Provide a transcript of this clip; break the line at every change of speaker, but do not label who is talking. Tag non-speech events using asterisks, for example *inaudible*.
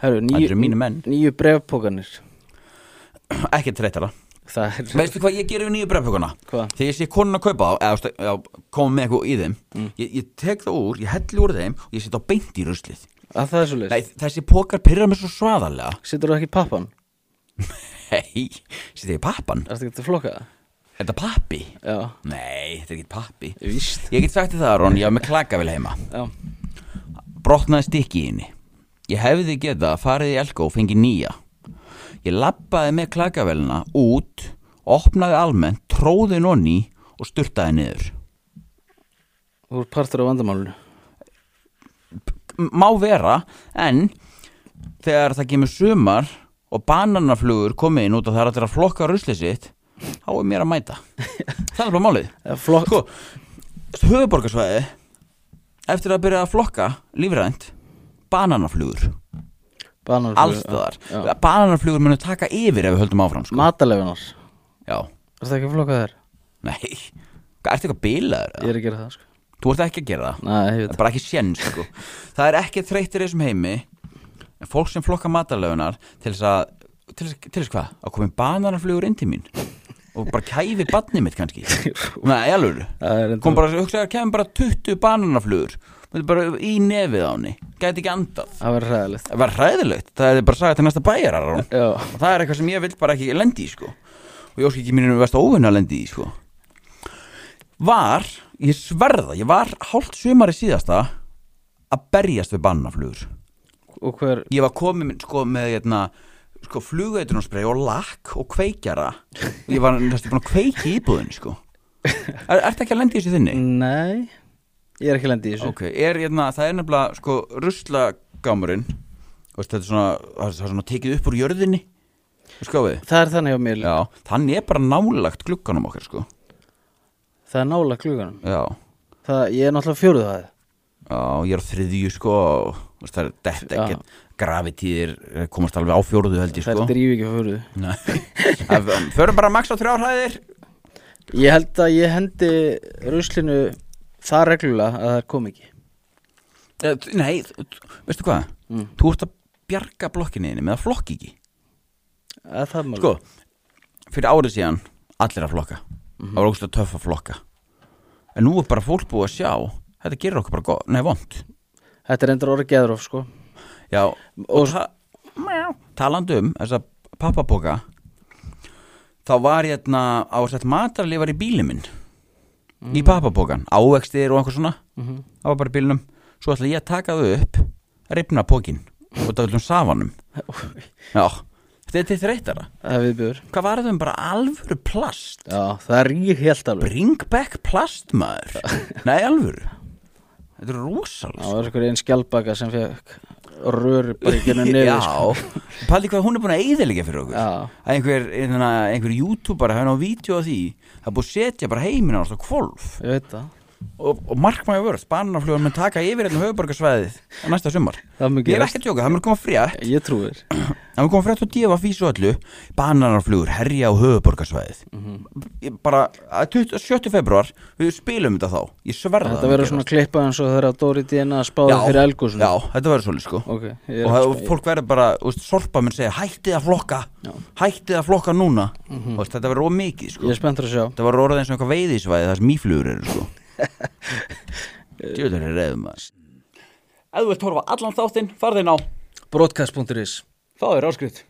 Herru,
Það eru mínu
níu,
menn
níu brefpókanir
Ekki treytara
Það er,
Veistu hvað ég gerir við nýju brefbökuna?
hvað?
Þegar ég sé konuna kaupa þá, eða, þú veist, já, koma með eitthvað í þeim
Mm.
ég, ég tek það úr, ég helli úr þeim og ég setja á beint í ruslið
Að það er svo
Nei,
leist
þessi pókar pyrra mér svo svaðalega
Sittur það ekki í pappan?
Hei, setja ég í pappan?
Er þetta ekki að flokka það?
Er þetta pappi?
Já,
Nei, þetta er ekki pappi
víst
Ég get sagt þér það, Aron, ég var með klakavel heima
Já,
Brotnaði stikki í henni Ég hefði getað farið í elko og fengið nýja Ég labbaði með klakavelina út Opnaði almennt, tróði nonni og sturtaði niður
þú er partur af vandamálinu
má vera en þegar það kemur sumar og bananaflugur komið inn út og það er allir að flokka ruslið sitt þá er mér að mæta það er bara málið
Eh, Flokk,
sko, höfuborgarsvæði eftir að byrja að flokka lífrænt bananaflugur
banar
allstöðar bananaflugur munu taka yfir ef við höldum áfram sko.
Matalefinar
já,
Er það ekki að flokka þær?
nei ertu eitthvað bilaður?
Ég er að gera það, sko
þú ert ekki að gera það
Nei, ég
það
veit
er bara ekki sjenn sko. það er ekki þreytir í þessum heimi en fólk sem flokka matarlögunar til þess að til þess, til þess hvað, að komi bananarflugur inn til mín og bara kæfi barnið mitt kannski nei, alveg
Það er
kom
enda
bara, hugsaðu, kæmi bara 20 bananarflugur Þetta er bara í nefið á henni gæti ekki andað,
Það verður hræðilegt
það var hræðilegt það er bara að sagði til næsta bæjarar og
Já,
það er eitthvað sem ég vil bara ekki lendi í sko og ég óski ekki mínum vest óvinna lendi í sko var, ég sverða, ég var hálft sumari síðasta að berjast við bannaflugur
og hver
ég var komið með- sko, með hérna, sko, flugveitunarsprei og lakk og kveikjara og ég var næstu búin að kveiki íbúðin sko er, ertu ekki að lendi í þessu þinni?
Nei, ég er ekki lendi í þessu
ok, er, hérna, það er nefnilega sko ruslagámurinn þú veist, þetta er svona, það er svona tekið upp úr jörðinni sko við
Það er þannig á mér líka.
Já, þannig er bara nálagt glugganum okkar sko
Það er nála kluganum
Já,
Það, ég er náttúrulega fjóruð það
já ég er á þriðju sko og þú veist, það er dett
Já.
ekkert gravitíðir eh, komast alveg á fjóruðu held ég
Það
sko
er drífi ekki á fjóruð
Nei. Það- Förum bara max á þrjárhæðir
Ég held að ég hendi ruslinu það reglulega að það kom ekki
Eh, t- Nei, t- t- veistu hvað
Mm.
Þú ert að bjarga blokkinni þinni með að flokki ekki
að það er mál
Sko, fyrir árið síðan allir að flokka Það var ógust að töff að flokka En nú er bara fólk búið að sjá Þetta gerir okkur bara góð, nei vond
Þetta er endur orðið geðrof sko
Já, og ta talandi um þessa pappaboka þá var ég hérna á að setja matarleifar í bílinn minn í pappabokan, ávextir og einhver svona
Mhm.
það var bara í bílinum svo ætla ég að taka þau upp, ripna pokin og það viljum safanum Já, þetta er til þreytara
Það er viðbjör
Hvað var þetta um bara alvöru plast?
Já, það er rík helt alveg
Bring back plast maður Nei, alvöru Þetta er rosalega
Það var einhver einn skjálpaka sem fekk röri bara *laughs* ekki henni
*laughs* Já,
nefið sko.
paldi hvað hún er búin að eyðilega fyrir okkur
Já.
að einhver, einhver, einhver youtuber hafa náðu vídeo á því það er búið að setja bara heiminn á alltaf kvolf
Ég veit það
og, og markmæði vörð, bananaflugur mun taka yfir hérna höfuborgarsvæðið á næsta sumar
Það mun
ég er
gerast.
ekki að tjóka, það mun koma frétt
Ég trúi þér
það mun koma frétt og djöfa físu öllu bananaflugur herja á höfuborgarsvæðið
Mhm.
Ég bara, að 20 7. februar við spilum þetta þá, ég sverða
Þetta verður svona klippa eins og þeirra Dóri DNA spáði fyrir elgúsun
já, þetta verður svolítið sko
Ok, ég
og
er
það, fólk verður bara, úst, sorpa mun segja hættið að flokka,
Já.
hættið að flokka núna mm úst, þetta verður ómikið sko
Mhm. Ég er spenntur að sjá
þetta var orðið eins og eitthvað veiðisvæði það sem íflugur eru *laughs* sko djöður er reyðum að ef þú vilt horfa allan þáttinn, farðin á
Broadcast.is
þá er áskrift